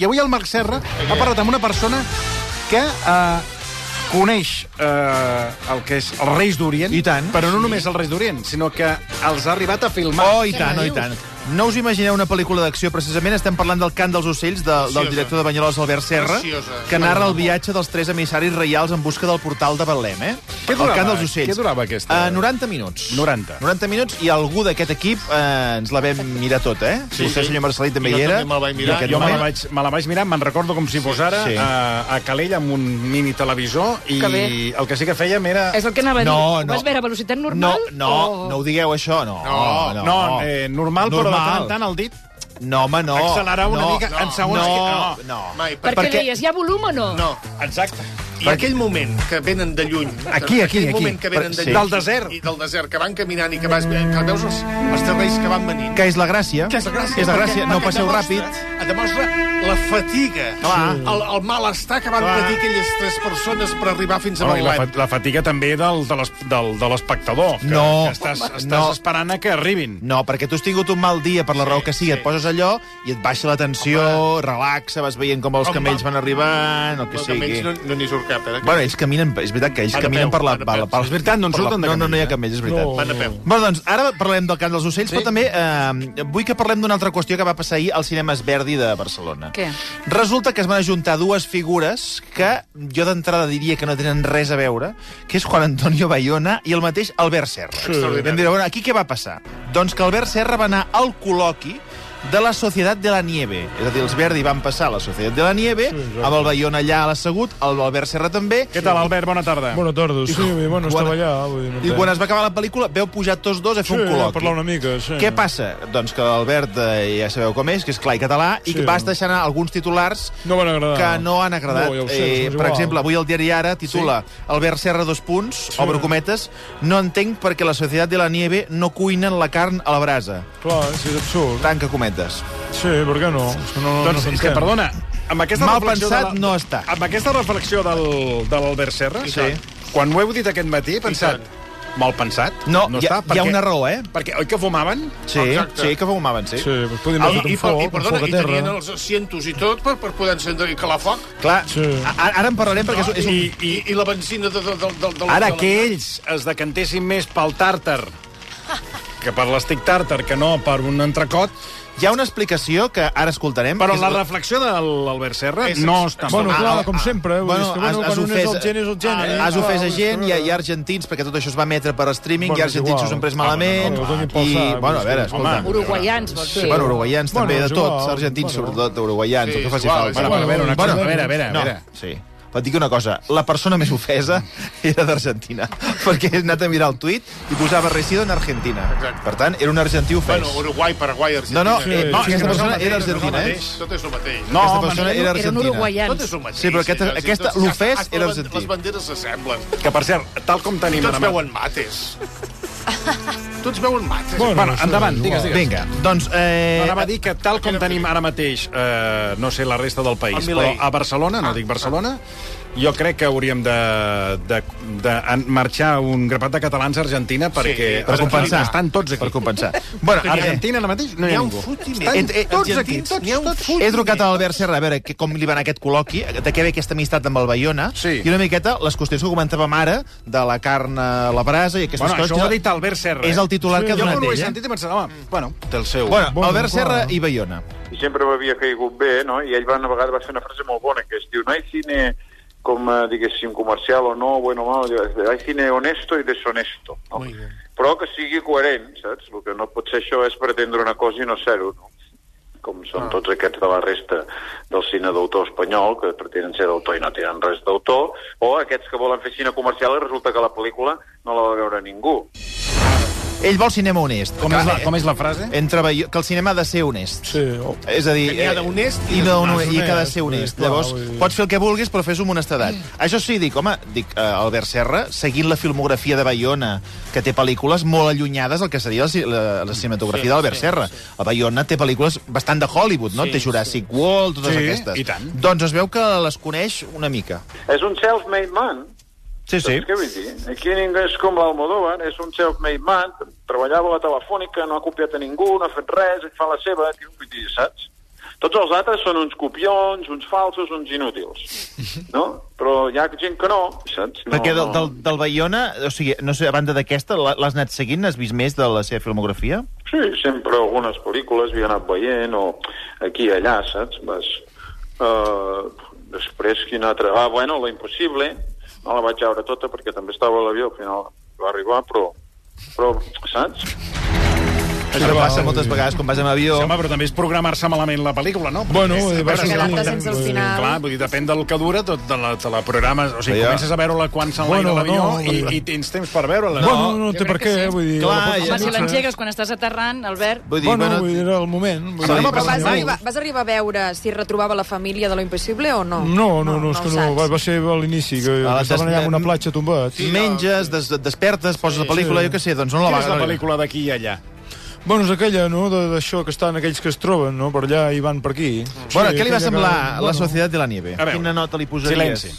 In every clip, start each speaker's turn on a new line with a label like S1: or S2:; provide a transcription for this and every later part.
S1: I avui el Marc Serra ha parlat amb una persona que eh, coneix eh, el que és els Reis d'Orient,
S2: I tant.
S1: però no només els Reis d'Orient, sinó que els ha arribat a filmar.
S2: Oh, i
S3: Què
S2: tant,
S3: me
S2: oh, i
S3: dius?
S2: tant. No us imagineu una pel·lícula d'acció, precisament estem parlant del Cant dels ocells de, del
S4: Preciosa.
S2: director de Banyoles, Albert Serra,
S4: Preciosa.
S2: que narra el viatge dels tres emissaris reials en busca del portal de Betlem, eh?
S1: Què durava?
S2: el Cant dels ocells.
S1: Què durava aquesta?
S2: Uh, 90 minuts.
S1: 90.
S2: 90 minuts i algú d'aquest equip eh, ens la vam mirar tota, eh?
S4: Sí,
S2: Vostè,
S4: sí.
S2: senyor Marcelí, també
S4: Jo
S2: hi era.
S4: també me'l vaig mirar.
S2: I aquest
S4: Jo
S1: Jo me
S2: home-
S1: la vaig, me la vaig mirar, me'n recordo com si fos ara,
S2: Sí.
S1: sí. a, a Calella, amb un mini televisor, i
S3: Que bé.
S1: el que sí que fèiem era...
S3: És el que anava a dir.
S2: No,
S3: Ho
S2: no.
S3: vas veure a velocitat normal? Oh.
S2: No, no,
S3: o...
S2: no ho digueu, això, no.
S4: No,
S1: No, no eh, normal, normal, però de tant en tant el dit
S2: No, home, no.
S1: accelerar una
S2: no,
S1: mica en
S2: no,
S1: segons...
S2: No,
S1: que...
S2: no.
S4: Mai, per, per,
S3: Perquè, perquè deies, hi ha volum o no?
S4: no.
S1: Exacte.
S4: I aquell moment que venen de lluny...
S1: Aquí, aquí,
S4: aquell
S1: aquí.
S4: moment que venen de
S2: Sí.
S4: lluny...
S1: Del desert.
S4: I del desert, que van caminant i que, vas, que veus els, els terrenys que van venint.
S2: Que és la gràcia.
S4: Que és la gràcia.
S2: Que és la gràcia.
S4: perquè-
S2: No
S4: perquè
S2: passeu
S4: demostra-
S2: ràpid.
S4: Et demostra la fatiga,
S2: Clar.
S4: el, el malestar que van
S2: Clar.
S4: patir aquelles tres persones per arribar fins a
S1: Bueno, i la,
S4: Belém.
S1: fa- la fatiga també del, de l'es- del- de l'espectador, que,
S2: No.
S1: que estàs,
S2: Home,
S1: estàs
S2: no.
S1: esperant a que arribin.
S2: No, perquè tu has tingut un mal dia per la raó que sigui, et poses allò i et baixa la tensió, relaxa, vas veient com els
S4: Home.
S2: camells van arribant, el que
S4: No, que
S2: sigui.
S4: menys no, no n'hi surt cap, eh?
S2: Bueno, ells caminen, és veritat que ells
S4: Van a
S2: caminen
S4: peu,
S2: per la...
S4: van a
S2: per la-
S4: peu,
S2: per-
S4: sí.
S1: És veritat, no en
S2: per la-
S1: surten de
S2: No, no, no hi ha
S1: camells, eh?
S2: camells, és veritat.
S4: Van a peu.
S2: Bueno, doncs, ara parlem del cant dels ocells, sí. però també eh, vull que parlem d'una altra qüestió que va passar ahir al cinema Esverdi de Barcelona.
S3: Què?
S2: Resulta que es van ajuntar dues figures que jo d'entrada diria que no tenen res a veure, que és Juan Antonio Bayona i el mateix Albert Serra. Sí. Vam dir, bueno, aquí què va passar? Doncs que Albert Serra va anar al col·loqui de la Societat de la Nieve. És a dir, els Verdi van passar a la Societat de la Nieve, sí, amb el Bayona allà a l'assegut, el Albert Serra també,
S1: Què tal, Albert? Bona tarda.
S5: Bona tarda, sí, bé, bueno, estava allà. Vull dir, no
S2: i
S5: té-
S2: quan es va acabar la pel·lícula veu pujar tots dos a fer un
S5: Sí, a
S2: col·loqui.
S5: parlar una mica, sí.
S2: Què passa? Doncs que l'Albert, eh, ja sabeu com és, que és clar i català, i
S5: Sí.
S2: que vas deixant alguns titulars
S5: No van agradar.
S2: que no han agradat. Eh,
S5: No, ja ho sé, és
S2: per
S5: igual.
S2: exemple, avui el diari Ara titula sí. Albert Serra, dos punts, sí. obre cometes, no entenc perquè la Societat de la Nieve no cuinen la carn a la brasa.
S5: Clar, sí, és absurd.
S2: Tanca cometes.
S5: Sí, per què no? És que no, no,
S1: Doncs,
S5: no
S1: és que,
S5: s'entén.
S1: perdona, amb aquesta
S2: Mal
S1: reflexió de
S2: pensat no està.
S1: Amb aquesta reflexió del, de l'Albert Serra,
S2: Sí.
S1: quan ho heu dit aquest matí, he pensat... Mal pensat?
S2: No, hi ha- hi ha una raó, eh?
S1: Perquè, oi que fumaven?
S2: Sí,
S4: Exacte.
S2: sí, que fumaven, sí.
S5: Sí,
S2: sí.
S5: pues podien
S4: I,
S5: haver fet
S4: i,
S5: un foc,
S4: i, perdona,
S5: un foc
S4: i
S5: a terra.
S4: tenien els asientos i tot per, per poder encendre i calar foc.
S2: Clar,
S5: Sí. Ah,
S2: a- ara en parlarem perquè és, és un...
S4: I, i, I la benzina de, de, de, de, de
S1: Ara
S4: de la-
S1: que ells Doncs es decantessin més pel tàrtar que per l'estic tàrtar, que no per un entrecot,
S2: Hi ha una explicació que ara escoltarem.
S1: però
S2: que és
S1: la reflexió de l'Albert Serra
S4: És-
S1: no està
S5: Bueno,
S2: Ah,
S1: mal.
S5: clar, com sempre, eh, vull dir, és que, bueno,
S2: has- has
S5: quan un és
S2: ofès- Ah,
S5: el geni, és el geni, eh?
S2: Has
S5: Clar,
S2: ofès a
S5: vull dir,
S2: gent, hi ha,
S5: bueno.
S2: hi ha argentins, perquè tot això es va emetre per streaming,
S5: Bueno,
S2: hi ha
S5: és
S2: argentins
S5: igual.
S2: que s'ho han pres
S5: Ah, bueno,
S2: malament,
S5: no, no, donin pel
S2: i,
S5: sac,
S2: bueno, a veure,
S5: ah, home.
S2: escolta...
S3: Uruguaians, vols dir?
S2: Bueno, uruguaians
S5: Bueno,
S2: també,
S5: és
S2: de tots,
S5: igual,
S2: argentins,
S5: bueno.
S2: sobretot, uruguaians,
S4: Sí,
S2: el que
S4: és
S2: faci
S4: igual,
S2: falta.
S4: és igual.
S2: Bueno,
S1: una cosa, a veure, a veure, a
S2: no,
S1: veure.
S2: sí. Però et dic una cosa, la persona més ofesa era d'Argentina, perquè he anat a mirar el tuit i posava resido en Argentina.
S4: Exacte.
S2: Per tant, era un argentí ofès.
S4: Bueno, Uruguai, Paraguai, Argentina...
S2: No, no, eh,
S5: Sí,
S2: no, aquesta
S5: sí, no és el
S2: persona
S4: mateix,
S2: era
S4: no és el
S2: argentina, eh?
S4: mateix, Tot és el mateix.
S1: No,
S2: Aquesta
S1: home,
S2: persona
S3: Eren
S2: era
S3: eren
S2: argentina.
S4: Tot
S3: uruguaians.
S4: és el mateix.
S2: Sí, però
S6: eh?
S2: aquest-
S4: allò, si
S2: aquesta-
S4: tots-
S2: l'ofès
S4: ah,
S2: era
S4: les-
S2: argentí.
S4: Les banderes s'assemblen.
S1: Que, per cert, tal com tenim...
S4: Tots
S1: demà-
S4: veuen mates. Tots veuen mates.
S5: Bueno,
S1: Bueno,
S5: no sé,
S1: endavant,
S5: igual.
S1: digues, digues.
S2: Vinga, doncs... Eh,
S1: Anava a dir que tal com tenim ara mateix, eh, no sé la resta del país,
S4: El
S1: però
S4: Milei.
S1: a Barcelona, no dic Barcelona, jo crec que hauríem de, de, de en- marxar un grapat de catalans a Argentina perquè
S4: per
S2: compensar.
S1: estan tots aquí.
S2: Per compensar. Bueno,
S1: A Argentina ara mateix no hi
S4: N'hi
S1: ha
S4: ha un
S1: ningú.
S4: fotimer.
S1: Estan
S2: Entre- entre
S1: tots aquí,
S2: argentins.
S1: tots,
S4: N'hi ha un
S1: tots.
S4: fotimer.
S2: He trucat a l'Albert Serra a veure que, com li va anar aquest col·loqui, de què ve aquesta amistat amb el Bayona,
S1: Sí.
S2: i una miqueta les qüestions que comentàvem ara, de la carn a la brasa i aquestes
S1: Bueno,
S2: coses.
S1: això ho ha dit Albert Serra.
S2: És el titular que ha
S1: jo
S2: donat
S1: quan ho he
S2: ell, eh?
S1: sentit he pensat, home, bueno, té el seu.
S2: Bueno,
S5: Bueno,
S2: Albert
S5: clar.
S2: Serra i Bayona.
S7: i sempre m'havia caigut bé, no? I ell va, una vegada va fer una frase molt bona, que es diu, no hay cine com, eh, diguéssim, comercial o no, bueno o mal, hay cine honesto i deshonesto, no?
S4: Muy bien.
S7: Però que sigui coherent, saps? El que no pot ser això és pretendre una cosa i no ser-ho, no? com són
S4: Ah.
S7: tots aquests de la resta del cine d'autor espanyol, que pretenen ser d'autor i no tenen res d'autor, o aquests que volen fer cine comercial i resulta que la pel·lícula no la va veure ningú.
S2: Ell vol cinema honest. eh?
S1: com, és la, com és la frase?
S2: Entre Bayona, que el cinema ha de ser honest.
S5: Sí, o-
S2: És a dir...
S4: Que n'hi ha
S2: eh,
S4: d'honest i
S2: i,
S4: de
S2: no,
S4: no
S2: no, i
S5: honest,
S2: que ha de ser
S5: vull dir,
S2: honest.
S5: clar,
S2: Llavors,
S5: vull dir-
S2: pots fer el que vulguis, però fes-ho amb honestedat. Això sí, dic, home, dic, eh, Albert Serra, seguint la filmografia de Bayona, que té pel·lícules molt allunyades del que seria la, ci- la, la cinematografia sí, d'Albert Serra. El Bayona té pel·lícules bastant de Hollywood, no? Sí, té Jurassic sí. World, totes
S1: Sí,
S2: aquestes.
S1: i tant.
S2: Doncs es veu que les coneix una mica.
S7: És un self-made man,
S2: Sí, sí.
S7: Saps què vull dir? Aquí ningú és com l'Almodóvar, és un self-made man, treballava a la telefònica, no ha copiat a ningú, no ha fet res, ell fa la seva, tio, vull dir, saps? Tots els altres són uns copions, uns falsos, uns inútils, no? Però hi ha gent que no, saps? No,
S2: Perquè del,
S7: no.
S2: del, del Bayona, o sigui, no sé, a banda d'aquesta, l'ha- l'has anat seguint? Has vist més de la seva filmografia?
S7: Sí, sempre algunes pel·lícules havia anat veient, o aquí i allà, saps? Vas, uh, després, quina altra... Ah, bueno, La Impossible, no la vaig veure tota perquè també estava a l'avió, al final va arribar, però, però saps?
S2: Això passa moltes vegades quan vas amb avió.
S1: Sí, home, però també és programar-se malament la pel·lícula, no?
S5: Bueno, eh, va
S1: Perquè
S5: ser
S1: quedar-te
S5: un-
S1: sense el
S5: vull dir,
S1: final. Clar, vull dir, depèn del que dura, tot de la, te la programes... O sigui,
S2: Ja.
S1: comences a veure-la quan s'enlaira
S5: Bueno,
S1: l'avió
S5: no,
S1: i,
S5: vull
S1: i
S5: dir-
S1: tens temps per veure-la.
S5: Bueno, no, no
S3: Jo
S5: té per
S3: crec
S5: què,
S3: que sí.
S5: eh, vull dir...
S2: Clar,
S5: la pots
S2: ja.
S3: Home,
S5: veure,
S3: si
S2: no sé.
S3: l'engegues quan estàs aterrant, Albert...
S2: Vull dir,
S5: Bueno,
S2: bueno,
S5: vull dir, era el moment. Vull
S2: Sí,
S5: dir,
S2: però
S5: no
S8: Però vas,
S5: passa
S8: arribar, vas arribar a veure si retrobava la família de lo impossible o no?
S5: res. No, no, no, és
S8: ho
S5: que no,
S8: saps.
S5: va, va ser a l'inici, que
S2: A la tasca-
S5: estaven allà en una platja tombat.
S2: Sí, Menges, des, et despertes, poses la pel·lícula,
S5: sí.
S2: jo què sé, doncs no la
S1: Quina
S2: va...
S1: és la pel·lícula d'aquí i allà?
S5: Bueno, és aquella, no?, de- d'això que estan aquells que es troben, no?, per allà i van per aquí.
S2: Bueno,
S5: Sí,
S2: què li va
S5: aquella
S2: semblar
S5: que-
S2: La
S5: bueno.
S2: Societat de la Nieve?
S1: A veure.
S2: Quina nota li posaries?
S1: Silenci.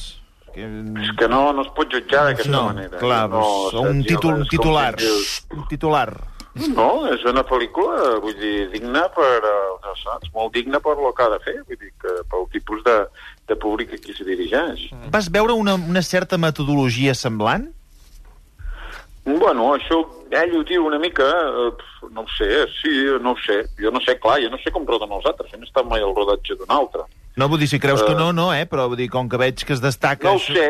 S2: Que...
S7: És que no, no es pot jutjar d'aquesta
S2: No,
S7: manera.
S2: clar, no,
S7: saps?
S2: un
S7: Jo,
S2: títol, un
S7: és com
S2: titular.
S7: si dius,
S2: Un titular.
S7: No, és una pel·lícula, vull dir, digna per, eh, no saps, molt digna per lo que ha de fer, vull dir, que pel tipus de, de públic a qui se dirigeix.
S2: Vas veure una, una certa metodologia semblant? Mm.
S7: Bueno, això ell ho diu una mica, eh, pf, no ho sé, sí, no ho sé, jo no sé, clar, jo no sé com roden els altres, jo no he estat mai al rodatge d'un altre.
S2: No, vull dir, si creus que no, no, eh? Però vull dir, com que veig que es destaca...
S7: No ho
S2: això-
S7: sé,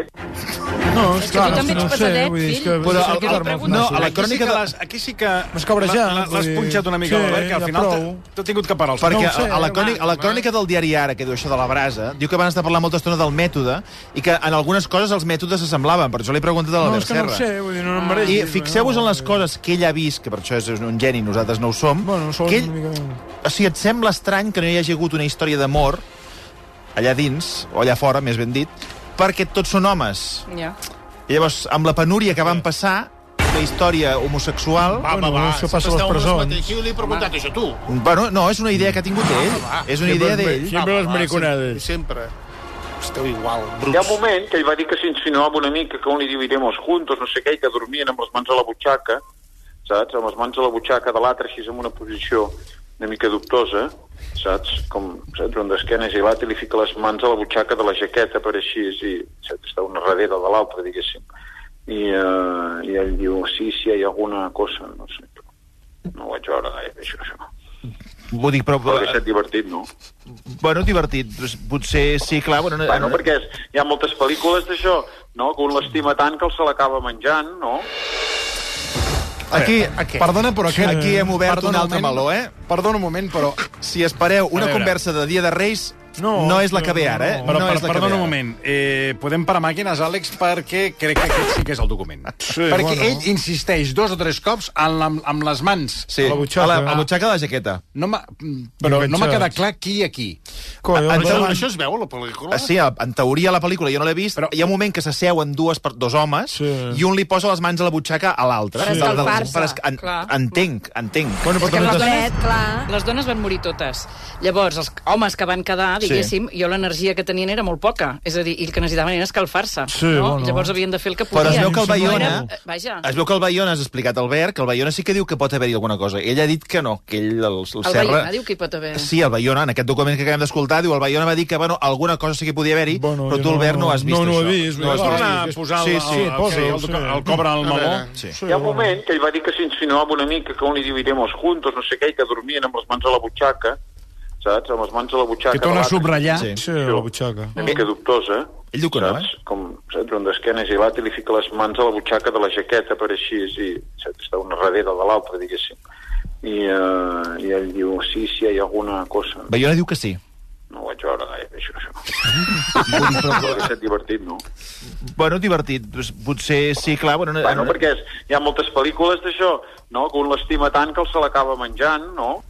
S5: No, és
S3: que
S5: clar,
S3: tu també
S5: no
S3: ets
S5: ho sé,
S3: pesadet,
S5: vull dir, és que-
S3: fill.
S2: Però
S5: és que
S2: el-
S5: quedar-me
S2: el-
S5: als
S2: no,
S5: nassos.
S2: a la
S1: Aquí sí
S2: crònica
S1: que
S2: de-
S1: l'has- Aquí sí que...
S5: M'has cabrejat,
S1: l'has- L'has
S5: vull dir,
S1: punxat una mica,
S5: sí,
S1: l'Albert, que al
S5: ja
S1: final
S5: prou.
S1: t'ha- t'ha tingut que parar el
S2: Perquè
S5: No ho sé,
S2: a, la
S5: eh,
S2: crònica, a la crònica del diari Ara, que diu això de la brasa, diu que van estar parlant molta estona del mètode i que en algunes coses els mètodes s'assemblaven, per això li he preguntat a
S5: No,
S2: l'Albert
S5: és que no ho
S2: Serra.
S5: sé, vull dir, no em
S2: I
S5: mereixis.
S2: fixeu-vos en les coses que ell ha vist, que per això és un geni, nosaltres no ho som,
S5: Bueno, sols
S2: que ell,
S5: una mica...
S2: o sigui, et sembla estrany que no hi hagi hagut una història d'amor allà dins, o allà fora, més ben dit, perquè tots són homes.
S3: Ja.
S2: I llavors, amb la penúria que van passar, la història homosexual...
S5: Va, va, va. Això passa a les presons.
S6: Qui li he preguntat això, tu?
S2: Bueno, no, és una idea que ha tingut ell. És una idea d'ell.
S5: Sempre les mariconades.
S6: Sempre. Esteu igual,
S7: hi ha
S6: bruts.
S7: un moment que ell va dir que s'insinuava una mica que un li diu iremos juntos, no sé què, i que dormien amb les mans a la butxaca, saps? Amb les mans a la butxaca de l'altre, així en una posició una mica dubtosa, saps? Com, saps? Un d'esquenes i l'altre li fica les mans a la butxaca de la jaqueta per així, i saps? Està una darrere de l'altra, diguéssim. I, eh, I ell diu, sí, sí, hi ha alguna cosa, no sé. No ho vaig veure gaire, això, això.
S2: Vull dir, però...
S7: Però ha estat divertit, no?
S2: Bueno, divertit. Doncs Potser sí, clar... Bueno, no,
S7: Bueno, perquè és, hi ha moltes pel·lícules d'això, no? Que un l'estima tant que el se l'acaba menjant, no?
S2: Aquí, perdona, però
S5: Sí.
S2: aquí, aquí hem obert un altre
S1: moment,
S2: meló, eh?
S1: Perdona un moment, però...
S2: Si espereu
S1: A
S2: una
S1: veure.
S2: conversa de Dia de Reis, no,
S5: No,
S2: no és la que ve
S5: no,
S2: ara, eh?
S5: no.
S1: Però,
S2: no
S1: per,
S2: és la que ve
S1: perdona un
S2: ara.
S1: moment. Eh, podem parar màquines, Àlex, perquè crec que aquest sí que és el document.
S5: Sí,
S1: perquè
S5: bueno.
S1: ell insisteix dos o tres cops en la, amb les mans.
S2: Sí,
S5: A la butxaca. eh?
S2: A la, a la butxaca de la jaqueta.
S1: No m'ha- però no m'ha
S5: Enganxats.
S1: quedat clar qui i aquí.
S5: Coi,
S2: Ah,
S5: home,
S6: Això,
S2: Però-
S6: això es veu a la pel·lícula?
S2: Ah, sí, a- en teoria, a la pel·lícula, jo no l'he vist, però
S1: Però-
S2: hi ha un moment que s'asseuen dues per dos homes
S5: Sí.
S2: i un li posa les mans a la butxaca a l'altre.
S8: Per
S2: De- de-
S8: escalfar-se,
S2: per esca- en-
S3: clar.
S2: Entenc, entenc.
S5: Bueno, però
S3: que
S5: també
S3: no
S5: t'has-
S3: dones-
S8: Fred, clar.
S3: Les dones van morir totes. Llavors, els homes que van quedar, diguéssim, sí. jo l'energia que tenien era molt poca. És a dir, i el que necessitaven era escalfar-se.
S5: Sí,
S3: no?
S5: bueno.
S3: Llavors havien de fer el que podien.
S2: Però es veu que el
S5: Sí, sí,
S2: Bayona...
S3: No era- eh, Vaja.
S2: Es veu que el Bayona, has explicat al Albert, que el Bayona sí que diu que pot haver-hi alguna cosa. Ell ha dit que no, que ell, el, el,
S3: El
S2: Serra...
S3: Bayona diu que hi pot haver.
S2: Sí, el Bayona, en aquest document que acabem d'escoltar, diu el Bayona va dir que bueno, alguna cosa sí que podia haver-hi, bueno,
S5: Bueno,
S2: però
S5: jo
S2: tu, Albert, no, has vist
S5: no, no
S2: això.
S5: ho he vist,
S2: no
S5: no.
S2: has
S5: Torna
S2: vist.
S5: a
S1: posar
S2: sí,
S1: el-
S2: sí,
S1: el-
S5: posa'l,
S1: el-
S5: sí.
S1: el cobre al meló.
S2: sí.
S5: Sí,
S7: Hi ha un
S5: bueno.
S7: moment que ell va dir que s'insinuava una mica que un li diu iremos juntos, no sé què, i que dormien amb les mans a la butxaca, saps? Amb les mans a la butxaca.
S1: Que torna a
S7: de l'altre,
S1: subratllar.
S2: Sí.
S5: Sí, a la butxaca.
S7: Una mica dubtosa.
S2: Ell diu que no,
S7: saps? Com, saps, un d'esquenes i l'altre li fica les mans a la butxaca de la jaqueta per així, i saps, està una darrere de l'altra, diguéssim. I, eh, I ell diu, sí, sí, hi ha alguna cosa.
S2: Bayona diu que sí.
S7: No ho vaig veure gaire, això, això. Però ha estat divertit, no?
S2: Bueno, divertit. Doncs Potser sí, clar... Bueno, no,
S7: Bueno, perquè és, hi ha moltes pel·lícules d'això, no? Que un l'estima tant que el se l'acaba menjant, no?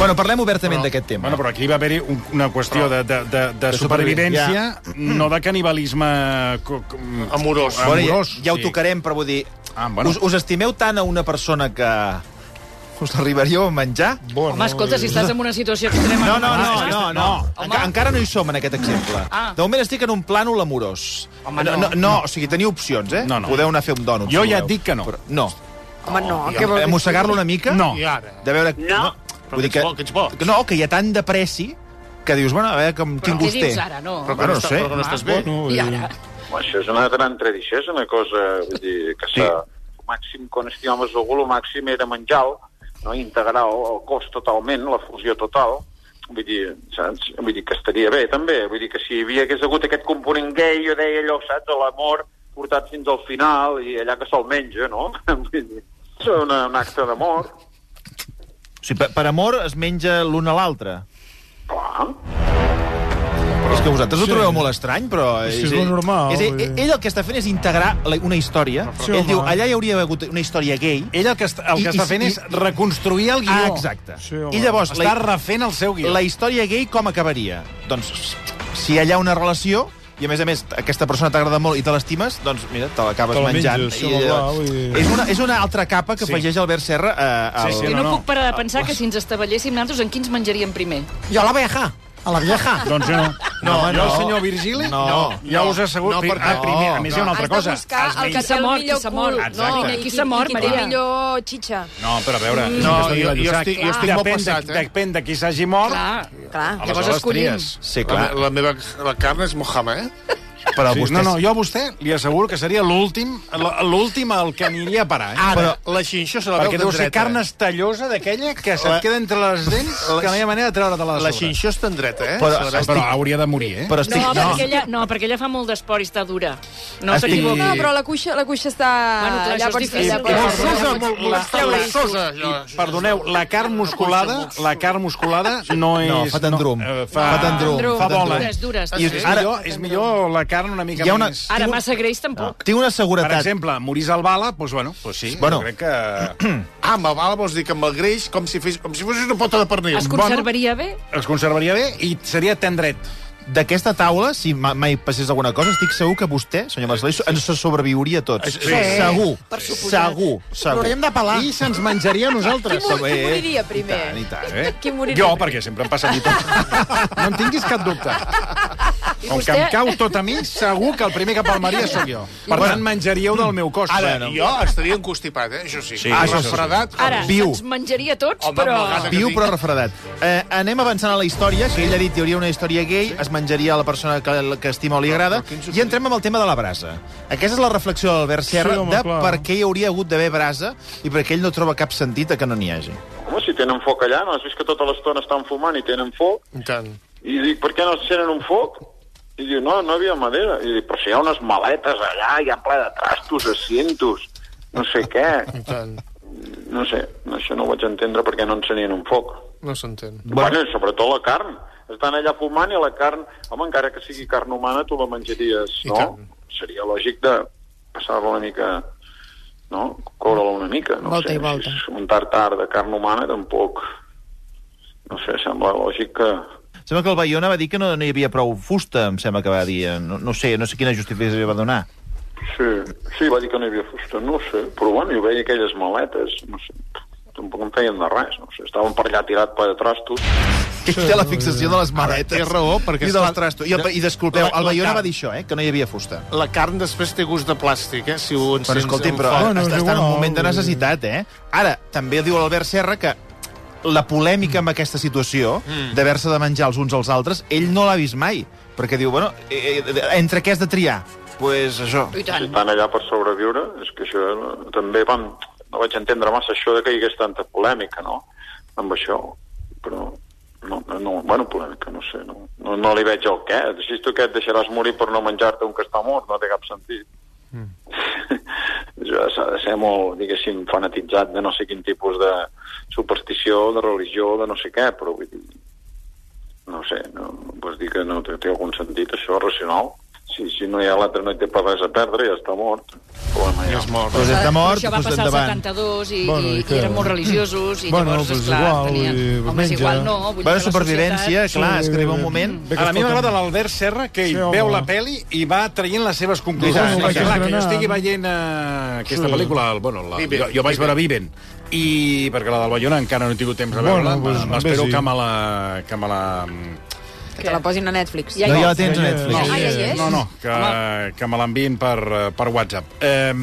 S2: bueno parlem obertament d'aquest tema.
S1: Bueno, però aquí va haver-hi un- una qüestió de, de, de, de supervivència, no de canibalisme... co- co-
S6: Amorós.
S2: Bueno,
S1: amorós,
S2: ja, ja ho
S1: sí.
S2: tocarem, però vull dir...
S1: Ah, bueno.
S2: us, us estimeu tant a una persona que us l'arribaríeu a menjar?
S5: Bueno,
S3: Home, escolta, si estàs en una situació extrema...
S2: No, no, no,
S3: Ah,
S2: no. no.
S3: Home.
S2: Enca encara no hi som, en aquest exemple.
S3: Ah.
S2: De moment estic en un plànol amorós.
S3: Home,
S2: no,
S3: no.
S2: no, no, o sigui, teniu opcions, eh?
S1: No, no.
S2: Podeu anar a fer un dònut.
S1: Jo
S2: si
S1: ja
S2: voleu.
S1: et dic que no.
S2: Però, no.
S8: Home, no,
S2: Que
S8: què vol dir?
S2: Mossegar-lo una mica?
S1: No.
S6: I ara?
S2: De veure... No.
S6: Però que ets bo, que ets bo.
S2: No, que hi ha tant de pressi que dius, bueno, a veure com, quin
S3: Què
S2: gust té.
S3: dius ara, no?
S6: Però que
S2: Bueno,
S6: no, està,
S2: sé.
S6: però que no
S1: Ah,
S6: estàs bé.
S5: Bueno,
S3: I
S5: eh,
S3: ara?
S7: Home, això és una gran tradició, és una cosa vull dir, que s'ha... El màxim, quan estimaves algú, el màxim era menjar-lo, no? integrar-ho, el cos totalment, la fusió total. Vull dir, saps? Vull dir que estaria bé, també. Vull dir que si hi havia, hagués hagut aquest component gay, jo deia allò, saps, de l'amor portat fins al final i allà que se'l menja, no? Vull dir, és una, un acte d'amor,
S2: O sigui, per, per amor es menja l'un a l'altre.
S7: clar.
S2: És que vosaltres ho
S5: Sí.
S2: trobeu molt estrany, però...
S5: Sí, és lo normal,
S2: És,
S5: vull
S2: ell,
S5: dir.
S2: ell el que està fent és integrar la- una història.
S5: Sí,
S2: ell
S5: home.
S2: diu, allà hi hauria hagut una història gay.
S1: Ell el que, est el que
S2: I-
S1: I, està
S2: i-
S1: fent
S2: i-
S1: és reconstruir el guió.
S2: Ah, exacte.
S5: Sí, home.
S2: I llavors,
S1: Està
S2: la,
S1: refent el seu guió.
S2: la història gay com acabaria? Doncs, si hi ha una relació, i a més a més aquesta persona t'agrada molt i te l'estimes, doncs mira, te l'acabes
S5: Te la
S2: menjant. I,
S5: menges, sí, va,
S2: eh,
S5: vull dir.
S2: és, una, és una altra capa que
S1: Sí.
S2: afegeix Albert Serra eh, a, a,
S1: Sí, sí,
S3: Jo
S1: No,
S3: no,
S1: no.
S3: puc parar de pensar que si ens estavelléssim nosaltres, en quins menjaríem primer?
S2: Jo a la vieja. A la vieja.
S1: Doncs jo no.
S2: No,
S1: jo
S2: no.
S1: el senyor Virgili?
S2: No.
S1: Ja us asseguro.
S2: No,
S1: No,
S2: perquè-
S1: ah, primer, a més, hi ha una
S8: No,
S1: altra
S8: has de
S1: cosa.
S8: buscar
S1: Es
S8: el
S1: menja-
S8: que té el
S3: mort,
S8: millor
S3: qui s'ha mort.
S8: cul.
S1: Exacte.
S8: No,
S1: Primer,
S3: qui s'ha mort,
S8: I qui té
S3: Maria.
S8: millor xitxa.
S1: No, però a veure...
S6: No,
S1: és que
S6: jo-
S1: s'ha
S6: jo
S1: de
S6: estic- jo
S1: Clar.
S6: estic molt
S1: Depèn de-
S6: passat, eh?
S1: Depèn de qui s'hagi mort.
S3: Clar.
S8: Clar.
S3: Llavors escollim.
S2: Sí, clar.
S6: La, la meva la carn és Mohamed. eh?
S2: Però
S1: Sí,
S2: vostès...
S1: no, no, jo a vostè li asseguro que seria l'últim l'últim al que aniria a parar. Eh?
S6: Ara, però, la xinxó se la veu
S1: Perquè
S6: de
S1: deu
S6: dreta.
S1: ser carn estellosa d'aquella que se't
S6: La-
S1: queda entre les dents
S6: La-
S1: que no hi ha manera de treure-te-la de
S6: La
S1: sobre.
S6: xinxó està en dreta, eh?
S2: Però-
S6: Se la veu-
S1: Però hauria de morir, eh?
S2: Però
S3: No,
S2: estic...
S3: perquè ella, no, perquè ella fa molt d'esport i està dura. No
S1: Estic-
S3: s'equivoqui.
S8: No, però la cuixa, la cuixa està...
S3: Bueno, clar, això és
S8: Ah, allà pots fer-
S3: difícil.
S8: allà pots-
S6: Molt sosa, molt molesteu, la sosa.
S1: I, perdoneu, la carn musculada, la carn musculada no és...
S2: No, fa tendrum.
S1: eh,
S2: fa, tendrum.
S8: tendrum.
S1: Fa bola.
S3: Dures, dures.
S1: I
S3: I...
S1: és,
S2: Ara-
S1: millor, és millor la carn una mica
S2: Hi ha una-
S1: més...
S3: Ara, massa greix tampoc.
S2: Tinc una
S1: Per
S2: seguretat.
S1: exemple, morís al bala, doncs bueno, doncs sí,
S2: Bueno.
S1: jo crec que
S6: Ah, amb el bala vols dir que amb el greix, com si, fes, com si fos una pota de pernil.
S3: Es conservaria bé?
S1: es conservaria bé i seria tendret.
S2: D'aquesta taula, si ma- mai passés alguna cosa, estic segur que vostè, senyor Marcelí, ens sobreviuria a tots.
S1: Sí.
S2: Segur. Segur. Segur.
S1: de pelar. I se'ns menjaria a nosaltres.
S8: Qui mor- qui
S2: Eh, eh.
S8: moriria primer?
S2: I tant, i tant.
S1: Eh?
S8: Qui moriria
S1: Jo,
S8: primer?
S1: perquè sempre em passa a mi tot. No en tinguis cap dubte. Com que
S3: vostè-
S1: em cau tot a mi, segur que el primer que palmaria sóc jo. Per tant, menjaríeu del meu cos.
S6: Ara,
S1: Bueno.
S6: jo estaria encostipat, eh? Això sí. sí
S2: això sí.
S6: refredat, com-
S3: Ara,
S2: Viu.
S3: ens menjaria tots,
S6: Home,
S3: però...
S6: amb el gas
S2: Viu però refredat. Eh, anem avançant a la història, que ell ha dit que hi hauria una història gay, es menjaria la persona que, que estima o li agrada, i entrem amb el tema de la brasa. Aquesta és la reflexió d'Albert Serra
S5: Sí, home,
S2: de
S5: clar.
S2: per què hi hauria hagut d'haver brasa i per què ell no troba cap sentit a que no n'hi hagi.
S7: Home, si tenen foc allà, no has vist que tota l'estona estan fumant i tenen foc?
S6: I tant.
S7: I dic, per què no encenen un foc? I diu, no, no hi havia manera. I dic, però si hi ha unes maletes allà, hi ha ple de trastos, assientos, no sé què.
S6: I tant.
S7: No sé, això no ho vaig entendre perquè no encenien un foc.
S6: No s'entén.
S7: Bueno, bueno i sobretot la carn. Estan allà fumant i la carn... Home, encara que sigui carn humana, tu la menjaries,
S6: I
S7: no?
S6: tant.
S7: Seria lògic de passar-la una mica... No? Coure-la una mica. No
S8: Volta
S7: sé,
S8: i volta.
S7: si és Un tartar de carn humana tampoc... No sé, sembla lògic que...
S2: Sembla que el Bayona va dir que no, no hi havia prou fusta, em sembla que va dir. No, no sé, no sé quina justificació va donar.
S7: Sí, sí, va dir que no hi havia fusta, no ho sé. Però bueno, jo veia aquelles maletes, no sé, tampoc em feien de res, no sé. Estaven per allà tirat per trastos.
S2: Que té la fixació de les maletes.
S6: té raó, perquè
S2: I
S6: es
S2: dels
S6: fa-
S2: trastos. I, el- i disculpeu,
S6: La- la
S2: el Bayona
S6: carn.
S2: va dir això, eh, que no hi havia fusta.
S6: La carn després té gust de plàstic, eh? Si ho encens...
S2: Però escolti,
S6: amb
S2: però
S6: foc.
S5: no,
S2: està,
S5: és
S2: està en un
S5: igual.
S2: moment de necessitat, eh? Ara, també diu l'Albert Serra que la polèmica amb aquesta situació d'haver-se de menjar els uns als altres, ell no l'ha vist mai, perquè diu, bueno, eh, eh, entre què has de triar? pues això.
S3: I
S7: Si
S3: tant.
S7: estan allà per sobreviure, és que això eh, també vam... No vaig entendre massa això de que hi hagués tanta polèmica, no?, amb això, però... No, no, no, bueno, polèmica, no sé, no, no, no li veig el què. Així tu què et deixaràs morir per no menjar-te un que està mort? No té cap sentit. Mm. S'ha de ser molt, diguéssim, fanatitzat de no sé quin tipus de superstició, de religió, de no sé què, però vull dir, no sé, no, pots dir que no té, té algun sentit això racional? Si, si no hi ha l'altre no hi té per res a perdre, ja està mort. Problema ja.
S6: És mort.
S2: Doncs està mort,
S3: això va
S2: doncs
S3: passar al
S2: endavant.
S3: 72 i,
S5: Bueno,
S3: i,
S5: i
S3: i
S5: què?
S3: eren molt religiosos i
S5: Bueno,
S3: llavors,
S5: doncs
S3: esclar,
S5: igual,
S3: tenien...
S5: vull dir,
S3: Home, és
S5: menja.
S3: igual, no. Vull dir
S2: Bueno,
S3: que la
S2: supervivència,
S3: societat-
S2: clar, és que arriba un moment...
S5: Bé que
S1: Ara, a mi
S5: escolta'm.
S1: m'agrada l'Albert Serra, que
S5: Sí,
S1: ell
S5: home.
S1: veu la peli i va traient les seves conclusions.
S2: Sí,
S1: Sí,
S2: sí, sí.
S1: clar, que jo
S5: Granada.
S1: estigui veient eh, aquesta
S5: Sí.
S1: pel·lícula, el- bueno, la,
S6: Viven,
S1: jo, jo vaig veure Viven, i perquè la del Bayona encara no he tingut temps de veure-la,
S5: Bueno,
S1: bueno,
S5: doncs,
S1: m'espero
S5: bé, sí.
S1: que me la... Que me la mm,
S8: Que la posin a Netflix.
S3: Ja
S2: No,
S3: hi
S2: ja
S3: ha.
S2: la tens a
S1: Eh,
S5: Ja hi és.
S2: Netflix.
S8: Ah, ja hi és?
S1: no, no, que, que me l'envien per, eh, per WhatsApp. Eh,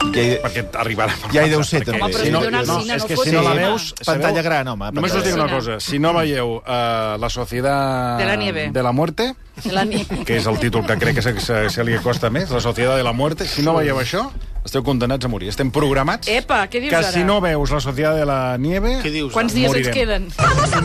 S2: Ja hi,
S1: Perquè arribarà per
S2: ja
S1: WhatsApp,
S2: hi deu ser,
S1: perquè-
S2: també.
S3: Home, però si no anar al cine
S1: és
S3: no
S1: que
S3: fots
S1: si no la
S3: cinema.
S1: veus...
S2: Pantalla
S1: sabeu?
S2: gran, home.
S1: Només us
S2: pantalla
S1: dic una
S3: gran.
S1: cosa. Si no veieu uh, La Sociedad
S3: De la Nieve.
S1: de la Muerte,
S3: La nit.
S1: que és el títol que crec que se, se, se li acosta més, La Sociedad de la Muerte, si no veieu això, esteu condenats a morir. Estem programats
S3: Epa, què dius
S1: que
S3: ara?
S1: si no veus La Sociedad de la Nieve...
S6: Què dius?
S3: Quants dies
S1: Morirem.
S3: ens queden?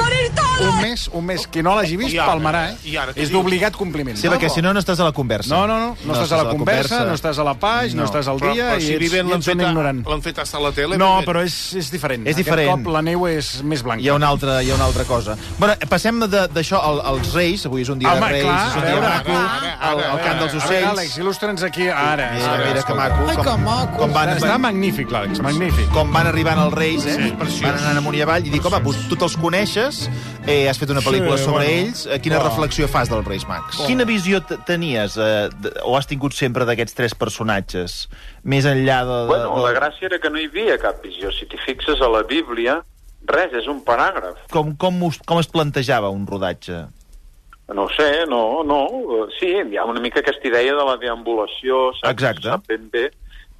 S1: Un mes, un mes. Qui no l'hagi vist,
S6: I ara?
S1: palmarà,
S6: I
S1: eh?
S6: ara què
S1: És
S6: dius?
S1: d'obligat compliment.
S2: Sí, perquè si no, no estàs a la conversa.
S1: No, no, no. No, estàs a la conversa, no estàs a la pàgina, no,
S2: No.
S1: estàs al
S6: Però,
S1: dia
S6: però si
S1: i ets,
S6: Viven
S1: i
S6: l'han
S1: ets un
S6: fet, a-
S1: ignorant.
S6: l'han fet hasta la tele...
S1: No,
S6: Viven.
S1: però és, és diferent.
S2: És diferent.
S1: Aquest cop la neu és més blanca.
S2: Hi ha una altra, hi ha una altra cosa. Bueno, passem de- d'això al- als Reis, avui és un dia
S1: Home,
S2: de Reis,
S1: clar,
S2: és un
S1: a
S2: dia
S1: veure,
S2: maco,
S6: ara, ara,
S2: al, al
S6: ara,
S2: cant dels
S1: A veure,
S2: ocells.
S1: Àlex, il·lustra'ns aquí ara.
S2: Mira, mira que maco.
S8: Ai, que
S2: com,
S8: maco.
S2: com van,
S1: Està magnífic, l'Àlex, magnífic.
S2: com van arribant els Reis, eh?
S6: Sí, preciós.
S2: van anant amunt i avall i dic, home, pues, tu te'ls coneixes, eh, has fet una pel·lícula
S5: Sí,
S2: sobre
S5: bueno.
S2: ells, eh, quina reflexió fas dels Reis Mags?
S9: Quina visió t- tenies eh, d- o has tingut sempre d'aquests tres personatges? Més enllà de... de-
S7: Bueno, la
S9: de-
S7: gràcia era que no hi havia cap visió. Si t'hi fixes a la Bíblia, res, és un paràgraf.
S9: Com, com, us, com es plantejava un rodatge?
S7: No ho sé, no, no. eh, Sí, hi ha una mica aquesta idea de la deambulació, saps,
S9: Exacte.
S7: sap ben bé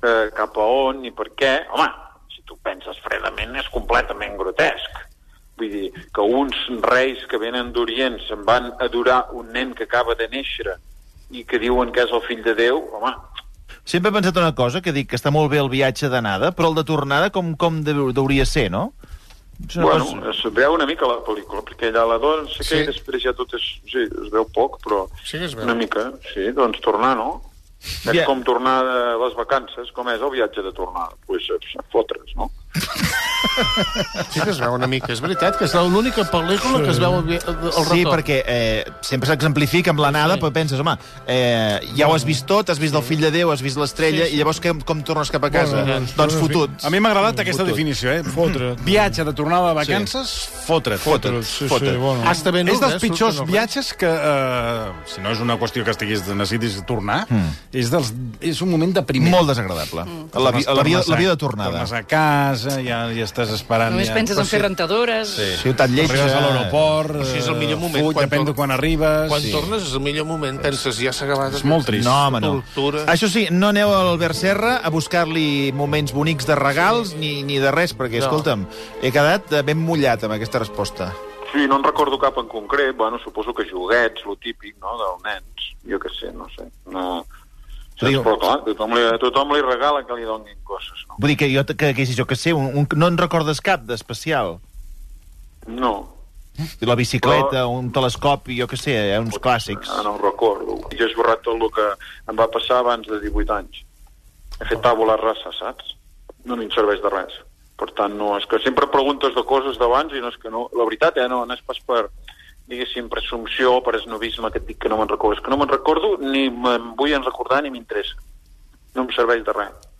S7: eh, cap a on i per què. Home, si tu penses fredament, és completament grotesc. Vull dir, que uns reis que venen d'Orient se'n van adorar un nen que acaba de néixer i que diuen que és el fill de Déu, home,
S9: Sempre he pensat una cosa, que dic que està molt bé el viatge d'anada, però el de tornada com, com deu- deuria ser, no? És una
S7: Bueno,
S9: cosa-
S7: es veu una mica la pel·lícula, perquè allà la dona, no sé què,
S6: Sí.
S7: i després ja tot és... Sí, es veu poc, però
S6: Sí que es veu.
S7: una mica, sí, doncs tornar, no?
S9: Ja.
S7: És com tornar de les vacances, com és el viatge de tornar? Doncs pues, eh, fotre's, no?
S6: Sí que es veu una mica, és veritat, que és l'única pel·lícula que es veu el, vi- el retorn.
S2: Sí, perquè eh, sempre s'exemplifica amb l'anada, sí. però penses, home, eh, ja ho has vist tot, has vist el fill de Déu, has vist l'estrella, sí, sí. i llavors com, com tornes cap a casa?
S5: Bueno,
S2: Bueno,
S5: doncs,
S2: doncs
S5: tornes
S2: fotut.
S1: A mi m'ha agradat aquesta definició, eh?
S5: Fotre't.
S1: Viatge de tornada de vacances, fotre't.
S5: Però,
S2: Fotre't,
S5: sí, sí,
S2: fotre't. Ah,
S5: bueno.
S6: Hasta ben
S1: és
S6: nuda,
S1: dels
S6: eh?
S1: pitjors
S6: Surten els-
S1: viatges que, eh, si no és una qüestió que estiguis necessitis tornar, mm. és, dels, és un moment depriment.
S2: Hmm. Molt desagradable. Mm. La, vi- la, via,
S1: Tornes a-
S2: la via de tornada.
S1: Tornes a casa, ja, ja estàs esperant...
S3: Només
S1: ja.
S3: penses en
S1: Però
S3: fer rentadores. Sí.
S2: Ciutat lletja.
S1: Arribes a l'aeroport...
S6: Sí, és el millor
S1: eh,
S6: moment,
S1: Fuig,
S6: quan
S1: depèn de
S6: tor-
S1: quan arribes...
S6: Quan tornes és el millor moment, penses, ja s'ha acabat.
S1: És molt trist.
S2: No, home, no.
S6: Tortura.
S2: Això sí, no aneu a l'Albert Serra a buscar-li moments bonics de regals ni, ni de res, perquè,
S6: No.
S2: escolta'm, he quedat eh, ben mullat amb aquesta resposta.
S7: Sí, no en recordo cap en concret, bueno, suposo que joguets, lo típic, no?, dels nens, jo què sé, no sé, no... Saps?
S2: Diu-
S7: Però, clar, tothom li, a tothom li regala que li donin coses, no?
S9: Vull dir que jo, que, que, que, jo que sé, un, un, no en recordes cap d'especial.
S7: No,
S9: La bicicleta,
S7: Però-
S9: un telescopi, jo que sé, eh, uns clàssics.
S7: Ah, no ho recordo. Jo he esborrat tot el que em va passar abans de 18 anys. He fet tàbula rasa, saps? No em serveix de res. Per tant, no, és que sempre preguntes de coses d'abans i no és que no... La veritat, eh, no, no és pas per, diguéssim, presumpció, per esnovisme, que et dic que no me'n recordo. És que no me'n recordo, ni me'n vull en recordar, ni m'interessa. No em serveix de res.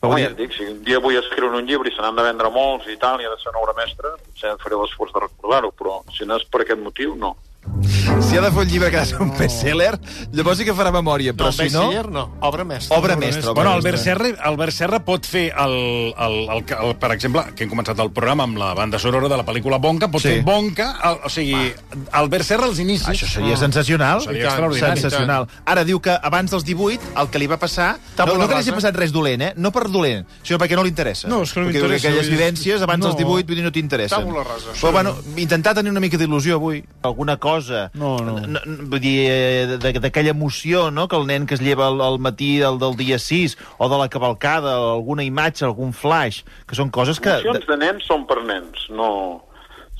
S9: Però
S7: Home,
S9: vull dir-
S7: ja et dic, si un dia vull escriure un llibre i se n'han de vendre molts i tal, i ha de ser una obra mestra, potser faré l'esforç de recordar-ho, però si no és per aquest motiu, no.
S2: Si ha de fer un llibre que ha de ser un best-seller, llavors sí que farà memòria,
S6: No,
S2: però
S6: si
S2: si no...
S6: no, obra mestra.
S2: Obra mestra. obra
S1: Bueno, Albert
S2: mestra.
S1: Serra, Albert Serra pot fer, el, el, el, el, el, per exemple, que hem començat el programa amb la banda sonora de la pel·lícula Bonca, pot
S2: Sí.
S1: sí. fer Bonca, el, o sigui, Albert Serra als inicis.
S2: Això
S5: ah.
S2: seria sensacional.
S1: Seria extraordinari.
S2: Sensacional. Ara diu que abans dels 18, el que li va passar... No,
S6: Tabula
S2: no que li
S6: rasa.
S2: hagi passat res dolent, eh? No per dolent, sinó perquè no li interessa.
S5: No, és que no
S2: Perquè diu
S5: m'interessa,
S2: aquelles
S5: vull dir-
S2: vivències abans
S5: No.
S2: dels 18, vull dir, no t'interessen.
S6: Tabula rasa.
S2: Però, bueno, intentar tenir una mica d'il·lusió avui.
S9: alguna cosa,
S5: No, no.
S9: N- n- vull dir, eh, de- d'aquella emoció, no?, que el nen que es lleva al, al matí del, del dia 6, o de la cavalcada, o alguna imatge, algun flash, que són coses que...
S7: Emocions de nens són per nens, no...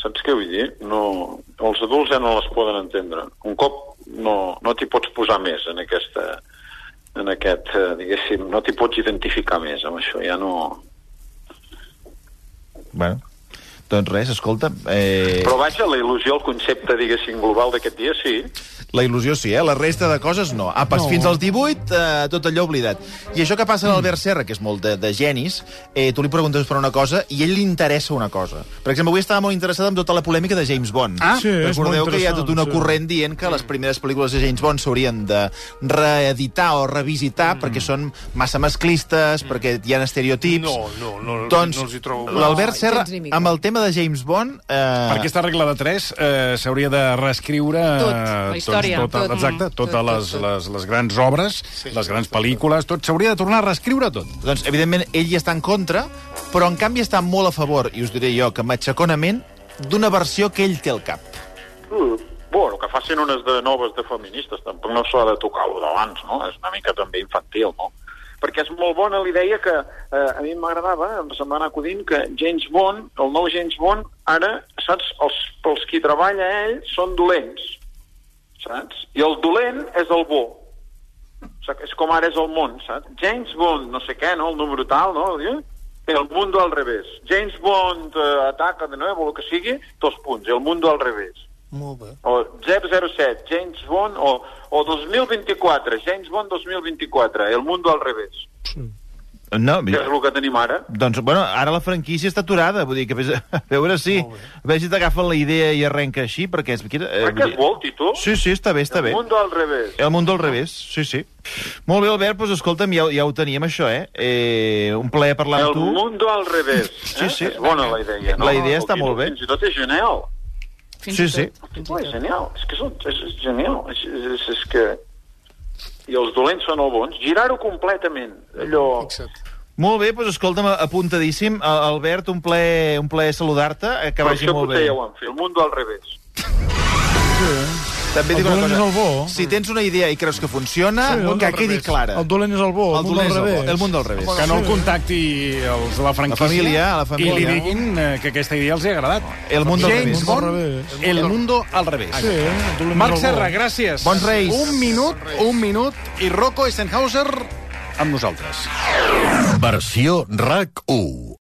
S7: Saps què vull dir? No... Els adults ja no les poden entendre. Un cop no, no t'hi pots posar més en aquesta en aquest, eh, diguéssim, no t'hi pots identificar més amb això, ja no...
S9: Bueno, doncs res, escolta, eh,
S7: Però vaja, la il·lusió, el concepte, diguéssim, global d'aquest dia, sí.
S2: La il·lusió sí, eh? La resta de coses no. Apa, no. fins als 18, eh, tot allò oblidat. I això que passa a l'Albert Serra, que és molt de, de genis, eh, tu li preguntes per una cosa i a ell li interessa una cosa. Per exemple, avui estava molt interessada en tota la polèmica de James Bond.
S5: Ah, sí, és
S2: Recordeu
S5: molt
S2: que hi ha
S5: interessant,
S2: tot una
S5: sí.
S2: corrent dient que les primeres pel·lícules de James Bond s'haurien de reeditar o revisitar perquè són massa masclistes, perquè hi ha estereotips...
S6: No, no, no,
S2: doncs,
S6: no els hi trobo.
S2: L'Albert
S8: No,
S2: Serra,
S8: gens ni mica.
S2: amb el tema de James Bond... Eh,
S1: Per aquesta regla de 3 eh, s'hauria de reescriure eh,
S3: Tot, la història.
S1: Tota,
S8: Tot,
S1: exacte,
S8: mm,
S1: totes
S8: tot,
S1: les,
S8: tot, tot.
S1: les, les grans obres, sí, les grans pel·lícules, tot s'hauria de tornar a reescriure tot.
S2: Doncs, evidentment, ell hi està en contra, però en canvi està molt a favor, i us diré jo, que matxaconament, d'una versió que ell té al cap.
S7: Mm. Bueno, que facin unes de noves de feministes, tampoc no s'ha de tocar lo d'abans, no? És una mica també infantil, no? Perquè és molt bona la idea que eh, a mi m'agradava, em se'm va anar acudint, que James Bond, el nou James Bond, ara, saps, els, pels qui treballa ell són dolents, saps? I el dolent és el bo. O sigui, és com ara és el món, saps? James Bond, no sé què, no? El número tal, no? Eh? El mundo al revés. James Bond eh, ataca de nou, el que sigui, dos punts. El mundo al revés
S6: Molt bé.
S7: o 007, James Bond, o, o 2024, James Bond 2024, El Mundo al revés,
S9: No,
S7: que és el que tenim ara.
S9: doncs, bueno, ara la franquícia està aturada, vull dir que vés a a veure si... A veure si t'agafen la idea i arrenca així, perquè... És, eh,
S7: Eh,
S9: vull
S7: Aquest
S9: dir-
S7: vol, Tito?
S9: Sí, sí, està bé, està
S7: El
S9: bé. Eh,
S7: Mundo al revés.
S9: El món del revés, sí, sí. Molt bé, Albert, doncs escolta'm, ja, ho- ja ho teníem, això, eh? eh un plaer parlar
S7: El
S9: amb tu.
S7: Mundo al revés.
S9: Sí,
S7: eh?
S9: sí.
S7: És bona la idea, no?
S9: La idea està
S7: Tito,
S9: molt bé.
S7: Fins i tot és genial.
S3: Fins
S9: Sí,
S3: i tot.
S9: sí.
S3: Fins
S7: Oh,
S3: i
S7: és
S3: tot.
S7: genial. És que és, un- és, és genial. És, és, és, és que... I els dolents són els bons. Girar-ho completament. Allò...
S6: Fixa't.
S9: Molt bé, doncs escolta'm, apuntadíssim. A- Albert, un plaer, un plaer saludar-te, eh, que
S7: Però
S9: vagi
S7: això
S9: molt
S7: potser
S9: bé.
S7: ja ho han fet. El Mundo al revés.
S2: També
S5: El
S2: dic una
S5: dolent
S2: cosa.
S5: és el bo.
S2: Si tens una idea i creus que funciona,
S5: Sí,
S2: sí,
S5: el
S2: que
S5: del
S2: quedi
S5: revés.
S2: clara.
S5: El dolent és el bo, el, món
S2: dolent
S5: del
S2: és
S5: revés.
S2: El món del revés.
S1: Que no el contacti els de la franquícia.
S2: família, la
S1: I li
S2: família.
S1: diguin eh, que aquesta idea els hi ha agradat.
S2: El mundo al
S1: James
S2: revés.
S1: Bond,
S5: El mundo al
S1: El mundo al revés.
S5: revés. Sí, eh? el dolent
S1: Marc
S5: és el bo.
S1: Serra, gràcies.
S2: Bons Reis.
S1: Un minut, un minut, i Rocco Eisenhauser amb nosaltres.
S10: Versió RAC 1.